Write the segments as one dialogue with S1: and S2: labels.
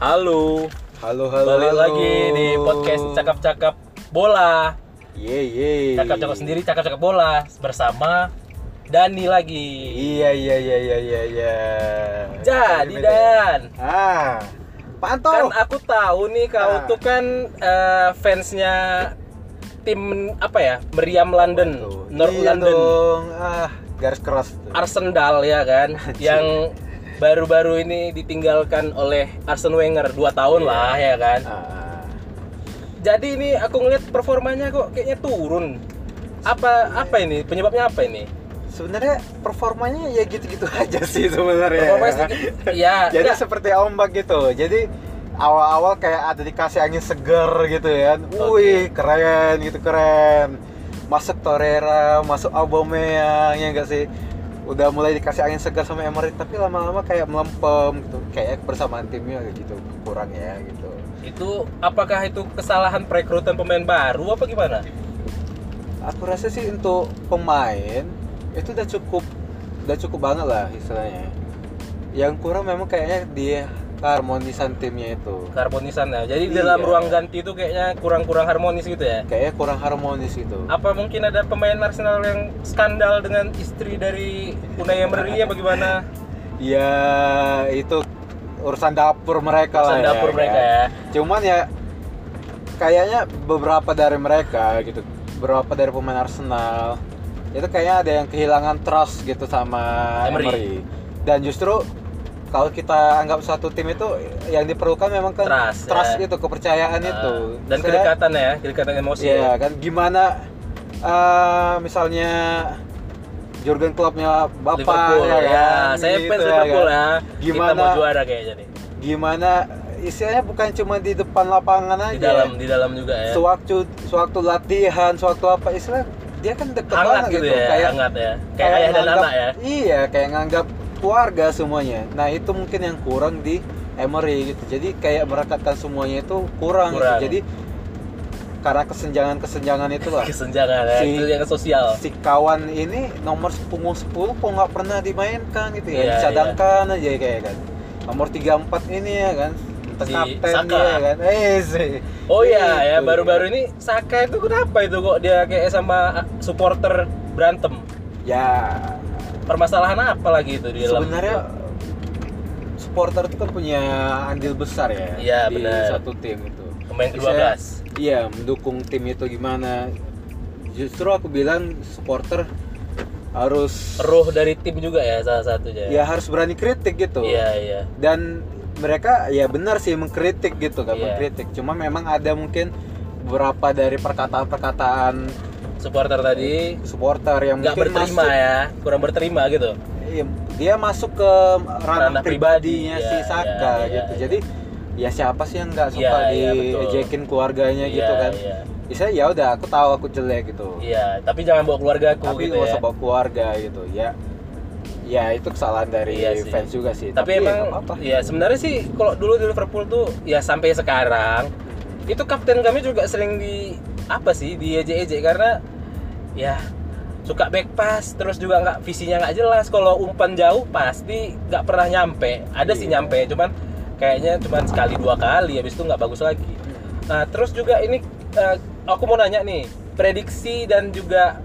S1: Halo,
S2: Halo, halo,
S1: balik
S2: halo.
S1: lagi di podcast cakap-cakap bola.
S2: Ye, ye.
S1: Cakap-cakap sendiri, cakap-cakap bola bersama Dani lagi.
S2: Iya, iya, iya, iya, iya, iya.
S1: Jadi
S2: Beda-beda.
S1: Dan,
S2: Ah, pantau.
S1: kan aku tahu nih kau
S2: Ah.
S1: tuh kan eh, fansnya tim apa ya? Meriam London,
S2: Tuh.
S1: North
S2: Iya
S1: London,
S2: dong. Ah, garis keras tuh.
S1: Arsenal ya kan, yang baru-baru ini ditinggalkan oleh Arsene Wenger 2 tahun
S2: Iya.
S1: lah ya kan.
S2: Ah,
S1: Jadi ini aku ngeliat performanya kok kayaknya turun. Apa apa ini? Penyebabnya apa ini?
S2: sebenarnya performanya ya gitu-gitu aja sih sebenarnya.
S1: Performanya sedikit. Iya.
S2: Jadi
S1: enggak.
S2: seperti ombak gitu. Jadi awal-awal kayak ada dikasih angin segar gitu ya. Wih, keren gitu keren. Masuk Torreira, masuk Aubameyang ya enggak sih? Udah mulai dikasih angin segar sama Emery, tapi lama-lama kayak melempem gitu. Kayak persamaan timnya gitu kurang ya gitu.
S1: itu apakah itu kesalahan perekrutan pemain baru apa gimana?
S2: Aku rasa sih untuk pemain itu udah cukup udah cukup banget lah istilahnya. Yang kurang memang kayaknya di keharmonisan timnya itu.
S1: Harmonisan ya. Jadi
S2: Iya.
S1: dalam ruang ganti itu kayaknya kurang-kurang harmonis gitu ya.
S2: Kayaknya kurang harmonis gitu.
S1: Apa mungkin ada pemain Arsenal yang skandal dengan istri dari Unai Emery ya bagaimana?
S2: Ya itu urusan dapur mereka
S1: Urusan
S2: lah ya,
S1: dapur
S2: kan.
S1: mereka ya.
S2: Cuman ya kayaknya beberapa dari mereka gitu, beberapa dari pemain Arsenal itu kayaknya ada yang kehilangan trust gitu sama
S1: Emery.
S2: Emery. Dan justru kalau kita anggap satu tim itu yang diperlukan memang kan
S1: Trust, ya.
S2: itu kepercayaan itu
S1: Dan
S2: Saya-
S1: kedekatan ya, kedekatan emosi.
S2: Iya kan gimana eh, misalnya Jurgen Kloppnya bapak
S1: Liverpool ya.
S2: kan?
S1: Saya
S2: Gitu
S1: fans
S2: ya
S1: Liverpool
S2: kan?
S1: ya. Kita
S2: Gimana-
S1: mau juara kayaknya nih.
S2: Gimana istilahnya bukan cuma di depan lapangan aja.
S1: Di dalam, di dalam juga ya.
S2: Sewaktu sewaktu latihan, sewaktu apa istilah dia kan deket
S1: hangat
S2: banget
S1: gitu, ya,
S2: kayak
S1: hangat ya. Kayak ayah dan
S2: nganggap-
S1: anak ya.
S2: Iya, kayak nganggap keluarga semuanya. Nah, itu mungkin yang kurang di Emery gitu. Jadi kayak merekatkan semuanya itu kurang, gitu.
S1: Kurang.
S2: Jadi karena kesenjangan-kesenjangan itulah.
S1: Kesenjangan ya,
S2: Si-
S1: itu yang sosial.
S2: si kawan ini nomor 10 10 kok nggak pernah dimainkan gitu ya
S1: Iya,
S2: dicadangkan aja kayak kan nomor 34 ini ya kan entah
S1: Si
S2: kapten
S1: Saka.
S2: dia kan eh sih
S1: Oh iya ya,
S2: Gitu.
S1: baru-baru ini Saka itu kenapa itu kok dia kayak sama ah, supporter berantem?
S2: ya
S1: Permasalahan apa lagi itu di dalam?
S2: sebenarnya supporter itu kan punya andil besar ya
S1: Iya,
S2: di
S1: benar.
S2: satu tim itu
S1: pemain
S2: Jadi
S1: ke-12.
S2: saya- iya mendukung tim itu gimana justru aku bilang supporter harus
S1: Roh dari tim juga ya salah satunya.
S2: ya harus berani kritik gitu
S1: Iya, iya.
S2: dan mereka ya benar sih mengkritik gitu kan
S1: Iya.
S2: mengkritik cuma memang ada mungkin beberapa dari perkataan-perkataan
S1: Supporter tadi
S2: supporter yang
S1: nggak
S2: mungkin
S1: berterima
S2: masuk-
S1: ya, kurang berterima gitu.
S2: iya, dia masuk ke ranah
S1: Ranah pribadi,
S2: pribadinya
S1: iya,
S2: si Saka
S1: iya,
S2: gitu
S1: iya.
S2: jadi ya siapa sih yang nggak
S1: Iya,
S2: suka
S1: iya, betul.
S2: diejekin keluarganya
S1: Iya,
S2: gitu kan
S1: Iya.
S2: Bisa ya udah aku tahu aku jelek gitu
S1: Iya, tapi jangan bawa keluarga aku
S2: tapi
S1: gitu
S2: nggak
S1: ya.
S2: usah bawa keluarga gitu ya ya itu kesalahan dari
S1: Iya sih.
S2: fans juga sih
S1: tapi,
S2: ya
S1: emang
S2: nggak apa-apa.
S1: ya sebenarnya sih kalau dulu di Liverpool tuh ya sampai sekarang itu kapten kami juga sering di apa sih di ejek karena ya suka back pass terus juga nggak visinya nggak jelas kalau umpan jauh pasti nggak pernah nyampe ada sih
S2: Iya.
S1: nyampe cuman kayaknya cuman sekali dua kali habis itu nggak bagus lagi nah terus juga ini eh, aku mau nanya nih prediksi dan juga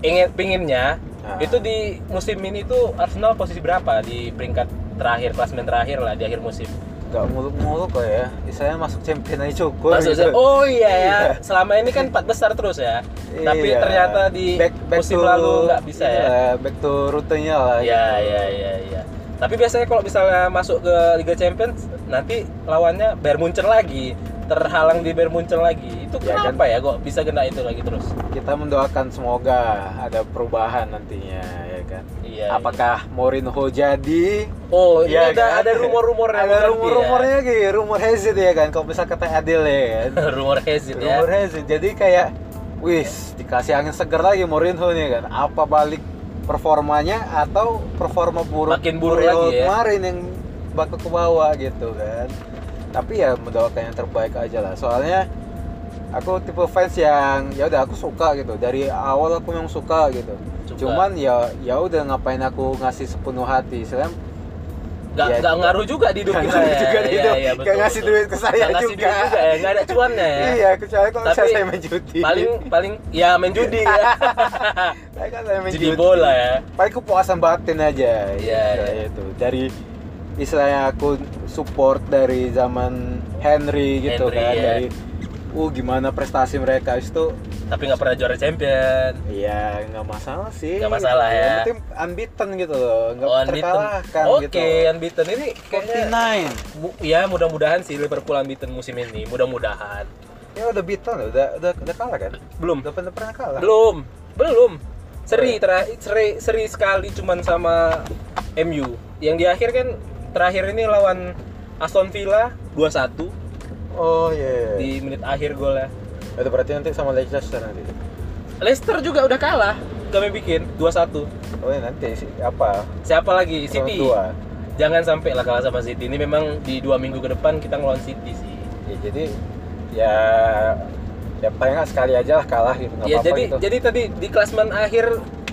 S1: ingin pinginnya
S2: Nah.
S1: itu di musim ini tuh Arsenal posisi berapa di peringkat terakhir klasmen terakhir lah di akhir musim
S2: Gak muluk-muluk kok ya. Saya masuk champion aja cukup.
S1: Maksud saya,
S2: gitu.
S1: oh iya ya
S2: Iya.
S1: selama ini kan empat besar terus ya tapi
S2: Iya.
S1: ternyata di
S2: Back- back
S1: musim
S2: to-
S1: lalu nggak bisa ya
S2: iya, Back to rutenya lah.
S1: Iya
S2: gitu.
S1: iya iya iya. Tapi biasanya kalau misalnya masuk ke Liga Champions nanti lawannya Bayern Munchen lagi, terhalang di Bayern Munchen lagi. Itu
S2: Ya
S1: kenapa ya kok bisa kena itu lagi terus?
S2: Kita mendoakan semoga ada perubahan nantinya ya kan.
S1: Iya.
S2: Apakah Mourinho jadi?
S1: iya. Oh, ini
S2: Iya
S1: ada
S2: kan?
S1: ada rumor-rumornya.
S2: Ada
S1: nanti ya.
S2: rumor-rumornya gitu, rumor Hazard ya kan. Kalau bisa kata Adil ya kan.
S1: rumor Hazard ya.
S2: rumor Hazard. Jadi kayak wis dikasih angin segar lagi Mourinho nih kan. Apa balik performanya atau performa buruk
S1: Makin buruk
S2: Mourinho
S1: lagi ya.
S2: kemarin yang bakal ke bawah gitu kan. Tapi ya mendoakan yang terbaik aja lah. Soalnya aku tipe fans yang ya udah aku suka gitu. Dari awal aku memang suka gitu.
S1: Suka.
S2: Cuman ya ya udah ngapain aku ngasih sepenuh hati. Soalnya
S1: nggak
S2: Iya
S1: nggak
S2: juga.
S1: ngaruh juga di hidup
S2: Nggak
S1: kita
S2: ngaruh
S1: ya.
S2: juga
S1: Iya,
S2: di hidup.
S1: iya,
S2: Nggak
S1: betul,
S2: ngasih
S1: betul.
S2: duit ke saya
S1: Nggak ngasih
S2: juga.
S1: duit juga ya, nggak ada cuannya ya.
S2: Iya, kecuali kalau
S1: Tapi-
S2: misalnya saya main judi.
S1: Paling paling ya main judi ya.
S2: Saya kan saya main
S1: Judi
S2: judi.
S1: bola ya.
S2: Paling kepuasan batin aja.
S1: Iya,
S2: Saya
S1: iya.
S2: itu. Dari istilahnya aku support dari zaman Henry gitu
S1: Henry,
S2: kan
S1: ya.
S2: dari uh gimana prestasi mereka Habis itu
S1: Tapi nggak pernah juara champion.
S2: Iya, nggak masalah sih.
S1: Nggak masalah ya.
S2: Yang penting unbeaten gitu loh, nggak
S1: Oh, unbeaten.
S2: terkalahkan
S1: Oke,
S2: gitu.
S1: unbeaten ini kayaknya
S2: 49.
S1: mu- ya mudah-mudahan sih Liverpool unbeaten musim ini. Mudah-mudahan.
S2: Ya udah beaten, loh, udah udah udah kalah kan?
S1: Belum.
S2: Udah pernah pernah kalah.
S1: Belum. Belum. Seri terakhir seri, seri sekali cuman sama MU. Yang di akhir kan terakhir ini lawan Aston Villa 2-1
S2: Oh iya.
S1: di menit akhir golnya.
S2: Itu berarti nanti sama Leicester nanti.
S1: Leicester juga udah kalah. Kami bikin 2-1.
S2: Oh iya nanti sih apa?
S1: Siapa lagi?
S2: Sama
S1: City.
S2: Dua.
S1: Jangan sampai lah kalah sama City. Ini memang di dua minggu ke depan kita ngelawan City sih.
S2: Ya jadi ya ya paling nggak sekali aja lah kalah gitu. nggak
S1: Ya
S2: apa-apa
S1: jadi
S2: gitu.
S1: jadi tadi di klasmen akhir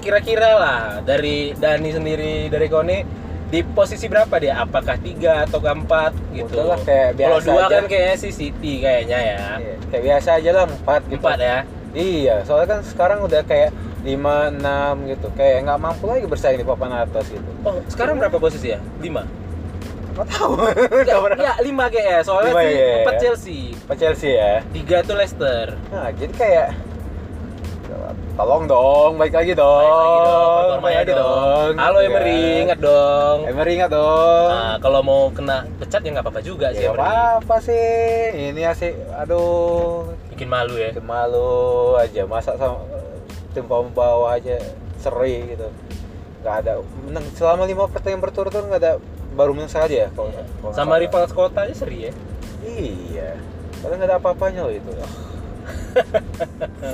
S1: kira-kira lah dari Dani sendiri dari Kone di posisi berapa dia? Apakah tiga atau keempat gitu?
S2: Udah lah, kayak
S1: Kalau
S2: biasa
S1: dua
S2: aja.
S1: kan kayaknya si City kayaknya ya.
S2: Iya, kayak biasa aja lah empat gitu.
S1: Empat ya.
S2: Iya, soalnya kan sekarang udah kayak 5, 6 gitu Kayak nggak mampu lagi bersaing di papan atas gitu
S1: Oh sekarang berapa posisi ya? Lima.
S2: Nggak tahu
S1: Enggak, ya lima kayaknya. Soalnya
S2: Lima
S1: si
S2: ya, ya,
S1: empat
S2: ya.
S1: Chelsea,
S2: Apa Chelsea ya?
S1: tiga tuh Leicester.
S2: Nah, jadi kayak Tolong dong, baik lagi dong
S1: Baik lagi
S2: Oh,
S1: dong, performanya
S2: baik lagi
S1: dong. Halo
S2: Gitu
S1: Emery,
S2: kan.
S1: ingat dong.
S2: Emery ingat dong
S1: Nah, kalau mau kena pecat ya nggak apa-apa juga sih
S2: Ya
S1: Emery.
S2: apa-apa sih Ini asik, aduh
S1: Bikin malu ya.
S2: Bikin malu aja, masa sama tim papan bawah aja seri gitu nggak ada menang selama lima pertandingan berturut-turut nggak ada baru menang sekali ya kalau
S1: Iya.
S2: kalau nggak
S1: Sama
S2: salah.
S1: rival sekota aja seri ya.
S2: Iya. Padahal nggak ada apa-apanya loh itu.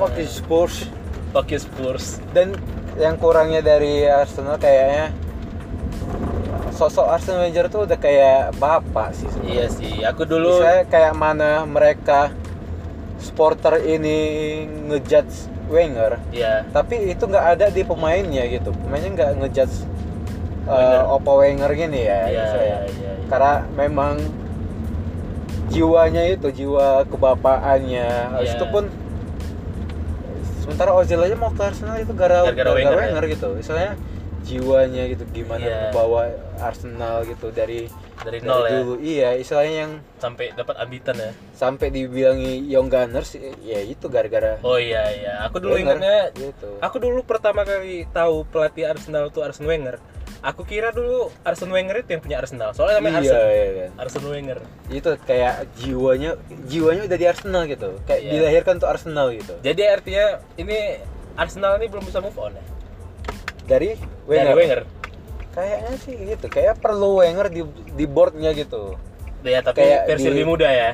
S2: Fuck this Spurs.
S1: Tokyo Spurs.
S2: Dan yang kurangnya dari Arsenal kayaknya sosok Arsenal manager tuh udah kayak bapak sih
S1: Iya
S2: sebenarnya.
S1: sih, aku dulu
S2: Misalnya kayak mana mereka supporter ini ngejudge Wenger,
S1: ya
S2: tapi itu nggak ada di pemainnya gitu. Pemainnya nggak ngejudge
S1: Wenger.
S2: uh, Oppo Wenger gini ya.
S1: Iya,
S2: misalnya.
S1: iya, iya, iya.
S2: karena memang jiwanya itu jiwa kebapaannya Habis
S1: Iya.
S2: itu pun sementara Ozil aja mau ke Arsenal itu gara
S1: Gara-gara
S2: gara
S1: Wenger, ya?
S2: Wenger gitu misalnya jiwanya gitu gimana
S1: Iya.
S2: membawa Arsenal gitu dari
S1: dari nol ya
S2: dulu iya istilahnya yang
S1: sampai dapat ambitan ya.
S2: sampai dibilangi young gunners ya itu gara-gara
S1: Oh iya iya, aku dulu
S2: Wenger
S1: ingatnya
S2: gitu
S1: aku dulu pertama kali tahu pelatih Arsenal itu Arsene Wenger. Aku kira dulu Arsene Wenger itu yang punya Arsenal. Soalnya namanya
S2: iya,
S1: Arsene.
S2: iya kan.
S1: Arsene Wenger.
S2: itu kayak jiwanya jiwanya udah di Arsenal gitu kayak
S1: Iya.
S2: dilahirkan untuk Arsenal gitu
S1: Jadi artinya ini Arsenal ini belum bisa move on ya.
S2: dari
S1: Dari Wenger.
S2: Kayaknya sih gitu, kayak perlu Wenger di di boardnya gitu.
S1: Ya, tapi
S2: Kayak
S1: versi
S2: di-
S1: lebih muda ya.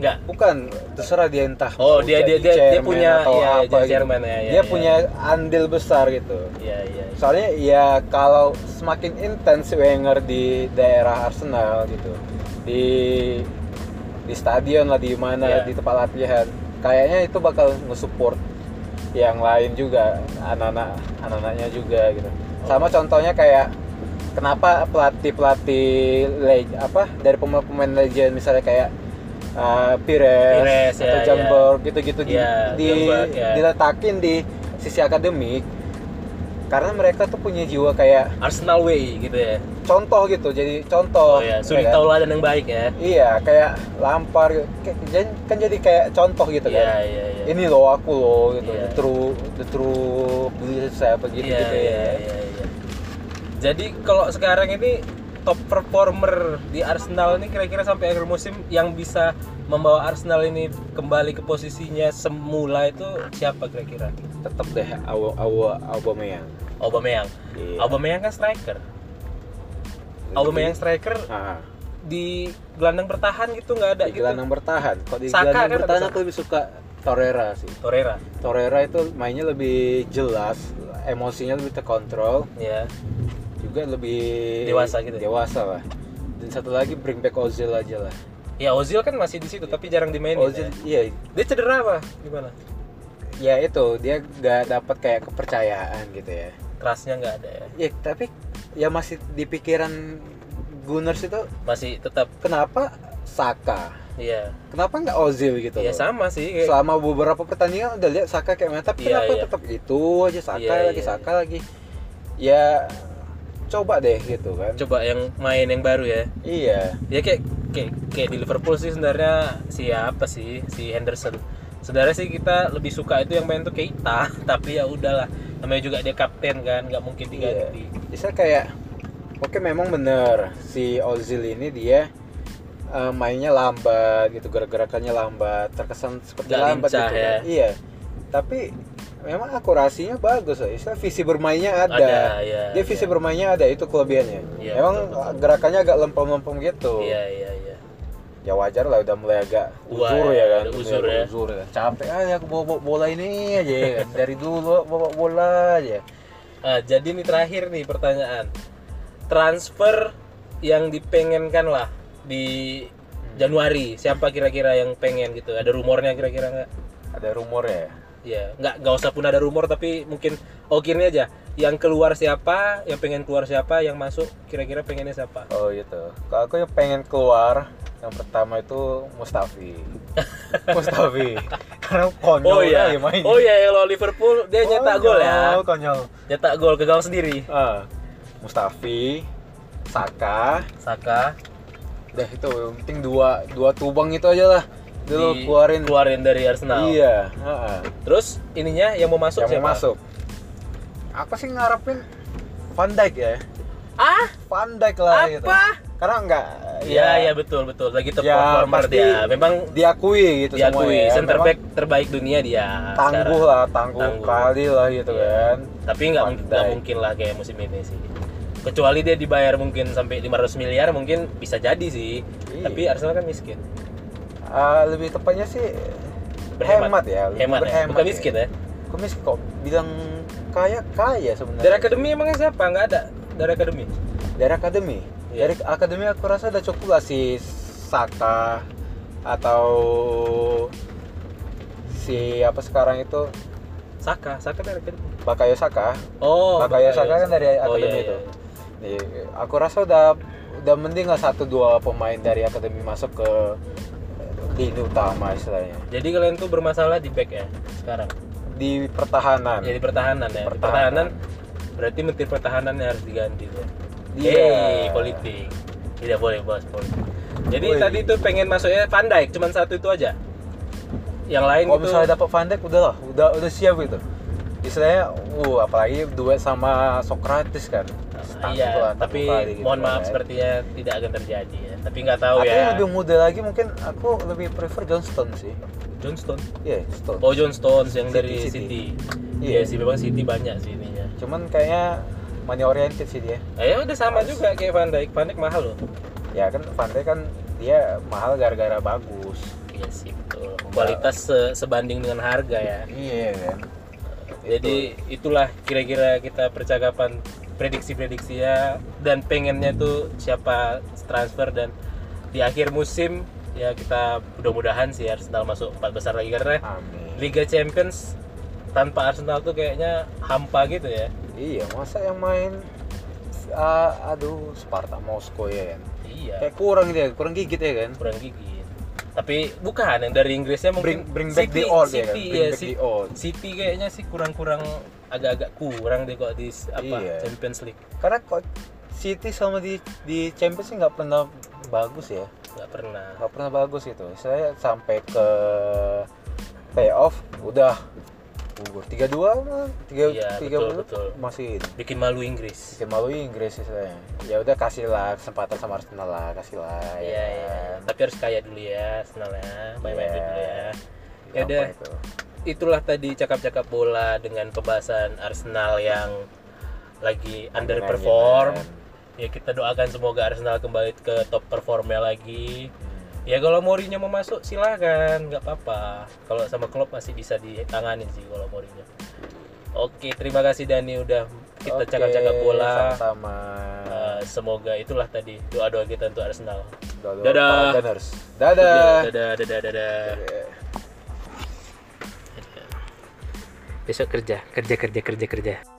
S1: Enggak.
S2: Bukan, terserah dia entah.
S1: Oh,
S2: mau
S1: dia- dia- dia-
S2: jadi
S1: dia
S2: chairman
S1: punya-
S2: atau
S1: iya,
S2: apa
S1: jadi
S2: gitu.
S1: chairman, ya, ya,
S2: dia
S1: ya.
S2: punya andil besar gitu.
S1: Iya iya. iya.
S2: Soalnya ya kalau semakin intens Wenger di daerah Arsenal gitu, di di stadion lah di mana
S1: Iya.
S2: di tempat latihan, kayaknya itu bakal nge-support yang lain juga anak-anak anak-anaknya juga gitu. Sama contohnya kayak kenapa pelatih pelatih apa dari pemain-pemain legend misalnya kayak uh, Pires,
S1: Pires,
S2: atau
S1: ya,
S2: John
S1: ya.
S2: Borg, gitu-gitu di-
S1: Ya,
S2: di,
S1: John Borg, ya.
S2: diletakin di sisi akademik karena mereka tuh punya jiwa kayak
S1: Arsenal way gitu ya.
S2: contoh gitu jadi
S1: Oh
S2: contoh
S1: ya,
S2: ya
S1: suri
S2: kan?
S1: tauladan yang baik ya.
S2: iya kayak lampar gitu. Kayak- jadi- kan jadi kayak contoh gitu
S1: Iya
S2: kan
S1: iya iya.
S2: ini loh aku loh gitu
S1: Iya.
S2: the true the true belief saya apa gitu
S1: Iya,
S2: gitu
S1: iya,
S2: ya
S1: iya, iya. Jadi kalau sekarang ini top performer di Arsenal ini kira-kira sampai akhir musim yang bisa membawa Arsenal ini kembali ke posisinya semula itu siapa kira-kira?
S2: tetap deh awal awal Aubameyang
S1: Aubameyang.
S2: Iya.
S1: Aubameyang kan striker. Aubameyang striker
S2: Ah,
S1: di gelandang bertahan gitu nggak ada
S2: di gelandang bertahan kalau di
S1: Saka
S2: gelandang
S1: kan
S2: bertahan
S1: ada
S2: aku lebih suka Torreira sih
S1: gitu. Torreira.
S2: Torreira itu mainnya lebih jelas emosinya lebih terkontrol
S1: Ya.
S2: juga lebih
S1: Dewasa gitu.
S2: dewasa lah dan satu lagi bring back Ozil aja lah
S1: Ya Ozil kan masih di situ tapi jarang dimainin.
S2: Ozil
S1: ya.
S2: iya
S1: Dia cedera apa? Gimana?
S2: ya itu dia gak dapat kayak kepercayaan gitu ya
S1: Kerasnya nggak ada ya.
S2: ya tapi ya masih di pikiran Gunners itu
S1: masih tetap
S2: kenapa Saka?
S1: iya
S2: Kenapa nggak Ozil gitu?
S1: iya
S2: loh?
S1: sama sih kayak-
S2: Selama beberapa pertandingan udah lihat Saka kayak mana, tapi
S1: Iya,
S2: kenapa
S1: iya.
S2: tetap itu aja Saka
S1: Iya,
S2: lagi
S1: iya,
S2: Saka lagi? Ya coba deh gitu kan.
S1: coba yang main yang baru ya
S2: Iya.
S1: ya kayak kayak, kayak di Liverpool sih sebenarnya siapa sih si Henderson sebenarnya sih kita lebih suka itu yang main tuh Keita tapi ya udahlah namanya juga dia kapten kan nggak mungkin
S2: Iya.
S1: diganti
S2: Bisa kayak oke memang bener si Ozil ini dia eh, mainnya lambat gitu, gerak-gerakannya lambat, terkesan seperti
S1: Nggak
S2: lambat
S1: lincah
S2: gitu.
S1: ya.
S2: kan. Iya. Tapi memang akurasinya bagus, loh. Istilah visi bermainnya ada.
S1: ya
S2: Dia visi bermainnya ada itu kelebihannya.
S1: Iya,
S2: Emang
S1: betul, betul.
S2: gerakannya agak lempem-lempem gitu.
S1: iya iya iya
S2: Ya wajar lah udah mulai agak
S1: Wah,
S2: uzur ya kan.
S1: ada uzur ya.
S2: Uzur ya. Capek aja aku bawa, bawa bola ini aja ya kan. Dari dulu bawa bola aja.
S1: Ah, jadi nih terakhir nih pertanyaan transfer yang dipengenkan lah di Januari siapa kira-kira yang pengen gitu ada rumornya kira-kira nggak
S2: Ada rumor ya.
S1: ya nggak nggak usah pun ada rumor tapi mungkin oke ini aja yang keluar siapa yang pengen keluar siapa yang masuk kira-kira pengennya siapa
S2: Oh gitu. Kalau aku yang pengen keluar yang pertama itu Mustafi. Mustafi. Karena konyol
S1: oh iya
S2: aja mainnya. Oh,
S1: oh iya kalau Liverpool dia nyetak gol ya
S2: Konyol, Konyol.
S1: nyetak gol ke gawang sendiri
S2: Ah, Mustafi, Saka,
S1: Saka
S2: udah itu yang penting dua dua tubang itu aja lah dulu
S1: di-
S2: keluarin
S1: keluarin dari Arsenal
S2: iya heeh.
S1: terus ininya yang mau masuk siapa
S2: yang mau masuk aku sih ngarepin Van Dijk ya
S1: ah
S2: Van Dijk
S1: Apa?
S2: lah gitu karena enggak
S1: ya ya betul betul lagi top
S2: Iya. Ya,
S1: performer
S2: pasti
S1: dia memang
S2: diakui gitu semua
S1: diakui
S2: ya
S1: center
S2: Memang
S1: back terbaik dunia dia sekarang.
S2: tangguh lah tangguh,
S1: Tangguh.
S2: kali lah gitu
S1: Iya.
S2: kan
S1: tapi nggak
S2: Van
S1: nggak
S2: Dijk.
S1: mungkin lah kayak musim ini sih kecuali dia dibayar mungkin sampai 500 miliar mungkin bisa jadi sih
S2: Iya.
S1: tapi Arsenal kan miskin
S2: Ah, lebih tepatnya sih
S1: Berhemat.
S2: hemat ya Nah. lebih
S1: hemat ya
S2: berhemat
S1: bukan miskin ya
S2: kok miskin kok bilang kaya kaya sebenarnya
S1: dari akademi emangnya siapa nggak ada dari akademi
S2: dari akademi
S1: Iya.
S2: dari akademi aku rasa udah cukup lah si Saka atau si apa sekarang itu
S1: Saka Saka dari akademi
S2: Bakayo Saka
S1: oh
S2: Bakayo
S1: Bakayo
S2: Saka kan dari
S1: Saka. Oh,
S2: akademi
S1: iya,
S2: itu
S1: iya.
S2: Jadi, aku rasa udah udah mending lah satu dua pemain dari akademi masuk ke lini utama istilahnya
S1: jadi kalian tuh bermasalah di back ya sekarang
S2: di pertahanan
S1: jadi pertahanan ya Di pertahanan
S2: Pertahanan.
S1: berarti menteri pertahanan yang harus diganti tuh
S2: Iya.
S1: Yeay, politik tidak boleh bahas politik jadi
S2: Woi.
S1: tadi tuh pengen masuknya Van Dijk cuman satu itu aja yang lain
S2: kalau
S1: itu
S2: misalnya dapat Van Dijk udah lah udah udah siap gitu istilahnya uh apalagi duet sama Socrates kan Stuck
S1: iya
S2: gitu lah,
S1: tapi
S2: satu kali gitu
S1: mohon maaf
S2: kan.
S1: sepertinya tidak akan terjadi ya tapi nggak tahu
S2: Atau
S1: ya
S2: yang lebih muda lagi mungkin aku lebih prefer Johnston sih.
S1: Johnstone
S2: Iya, Johnston.
S1: oh Johnstone yang
S2: City,
S1: dari City,
S2: City.
S1: Iya
S2: Iya.
S1: sih memang City banyak sih ininya
S2: Cuman kayaknya money oriented sih dia.
S1: eh ya udah sama juga kayak Van Dijk Van Dijk mahal loh
S2: Ya kan Van Dijk kan dia mahal gara-gara bagus.
S1: iya sih betul kualitas se- sebanding dengan harga ya
S2: Iya kan.
S1: Jadi itulah kira-kira kita percakapan prediksi-prediksi ya dan pengennya tuh siapa transfer dan di akhir musim ya kita mudah-mudahan sih Arsenal masuk empat besar lagi karena
S2: Amin.
S1: Liga Champions tanpa Arsenal tuh kayaknya hampa gitu ya.
S2: Iya, masa yang main ah, aduh Sparta Moskow ya kan.
S1: Iya,
S2: Kayak kurang dia, kurang gigit ya kan.
S1: kurang gigi. Tapi bukan yang dari Inggrisnya
S2: Bring
S1: mungkin
S2: bring back
S1: City-
S2: the old
S1: City,
S2: ya kan. Bring
S1: iya,
S2: back
S1: City-
S2: the old.
S1: City kayaknya sih kurang-kurang agak-agak kurang deh kok di apa
S2: Iya.
S1: Champions League.
S2: Karena kok City sama di di Champions sih nggak pernah bagus ya.
S1: nggak pernah.
S2: nggak pernah bagus gitu saya sampai ke playoff udah gugur tiga dua tiga
S1: Iya,
S2: tiga
S1: betul, betul.
S2: masih ini.
S1: Bikin malu Inggris.
S2: bikin malu Inggris istilahnya ya udah kasihlah kesempatan sama Arsenal lah ya. kasihlah
S1: Iya, iya. Tapi harus kaya dulu ya, senang ya. Main-main
S2: Iya.
S1: dulu ya. Ya
S2: ya
S1: udah,
S2: udah
S1: itulah tadi cakap-cakap bola dengan pembahasan Arsenal yang lagi underperform. Ya kita doakan semoga Arsenal kembali ke top performnya lagi. Ya kalau Mourinho mau masuk silakan, nggak apa-apa. Kalau sama Klopp masih bisa ditangani sih kalau Mourinho. Oke, terima kasih Dani udah kita cakap-cakap bola.
S2: sama
S1: Eh, semoga itulah tadi doa-doa kita untuk Arsenal. Dadah.
S2: dadah Gunners. dadah
S1: dadah, dadah, dadah.
S2: dadah
S1: besok kerja kerja kerja kerja kerja